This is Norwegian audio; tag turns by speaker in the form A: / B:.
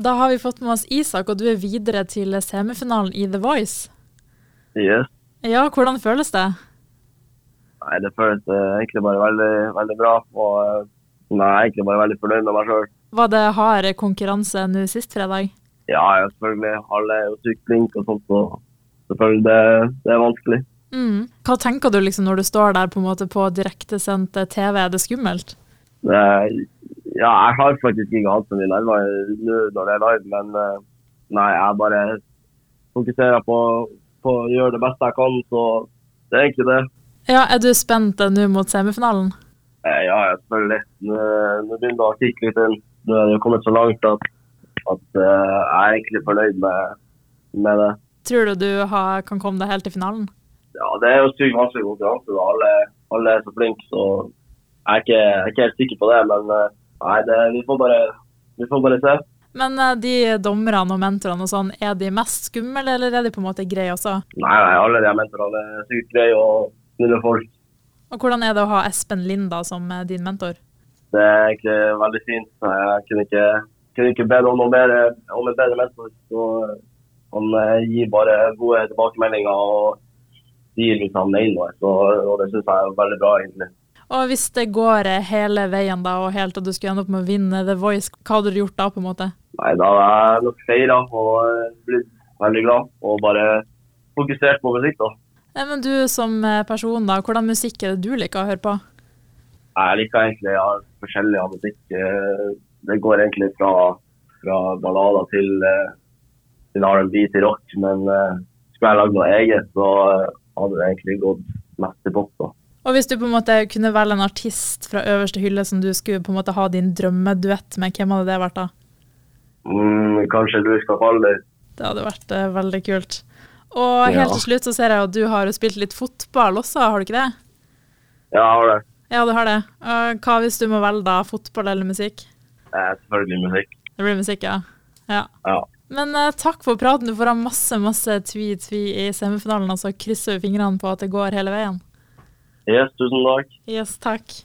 A: Da har vi fått med oss Isak, og du er videre til semifinalen i The Voice.
B: Yes.
A: Ja, hvordan føles det?
B: Nei, det føles eh, egentlig bare veldig, veldig bra. Og eh, nei, jeg er egentlig bare veldig fornøyd med meg sjøl.
A: Var det hard konkurranse nå sist fredag?
B: Ja, ja, selvfølgelig. Alle er jo sykt flinke og sånt, så selvfølgelig det, det er vanskelig.
A: Mm. Hva tenker du liksom når du står der på, en måte på direktesendt eh, TV, er det skummelt?
B: Det, ja, jeg har faktisk ikke hatt så mye nerver nå når det er live, men eh, nei, jeg bare fokuserer på, på å gjøre det beste jeg kan, så det er egentlig det.
A: Ja, er du spent eh, nå mot semifinalen?
B: Eh, Ja, ja, selvfølgelig. Nå nå begynner det å kikke litt inn. Nå er det jo kommet så langt at, at eh, jeg er egentlig fornøyd med, med det.
A: Tror du du har, kan komme deg helt til finalen?
B: Ja, det er jo sykt vanskelig konkurranse. da. Alle, alle er så flinke, så jeg er ikke, jeg er ikke helt sikker på det. Men eh, nei, det, vi, får bare, vi får bare se.
A: Men eh, de dommerne og mentorene og sånn, er de mest skumle, eller er de på en måte greie også?
B: Nei, nei, alle de her mentorene er sykt greie og snille folk.
A: Og hvordan er det å ha Espen Linda som eh, din mentor?
B: Det er egentlig veldig fint. Jeg kunne ikke, kunne ikke bedt om noe bedre, om en bedre mentor. Så han eh, gir bare gode tilbakemeldinger og sier hvis han mener noe. Så, og det syns jeg er veldig bra, egentlig.
A: Og hvis det går eh, hele veien da, og helt til du skulle ende opp med å vinne The Voice, hva hadde du gjort da, på en måte?
B: Nei, da har jeg nok feira og eh, blitt veldig glad og bare fokusert på musikk. da.
A: Nei, men du som eh, person, da, hvordan musikk er det du liker å høre på?
B: Jeg liker egentlig ja, forskjellig av musikk. Eh, Det går egentlig fra, fra ballader til, eh, til R&B til rock, men eh, skulle jeg lagd noe eget, så eh, hadde det egentlig gått mest til pop. da.
A: Og hvis du på en måte kunne velge en artist fra øverste hylle som du skulle på en måte ha din drømmeduett med, hvem hadde det vært da?
B: Mm, kanskje du skal falle litt.
A: Det hadde vært eh, veldig kult. Og helt
B: Ja.
A: til slutt så ser jeg at du har jo spilt litt fotball også, har du ikke det?
B: Ja, jeg har det.
A: Ja, du har det. Og hva hvis du må velge da, fotball eller musikk?
B: Eh, Selvfølgelig musikk.
A: Det blir musikk, ja. ja.
B: Ja.
A: Men eh, takk for praten. Du får ha masse, masse tvi-tvi i semifinalen, og så krysser vi fingrene på at det går hele veien.
B: Yes, tusen takk.
A: Yes, takk.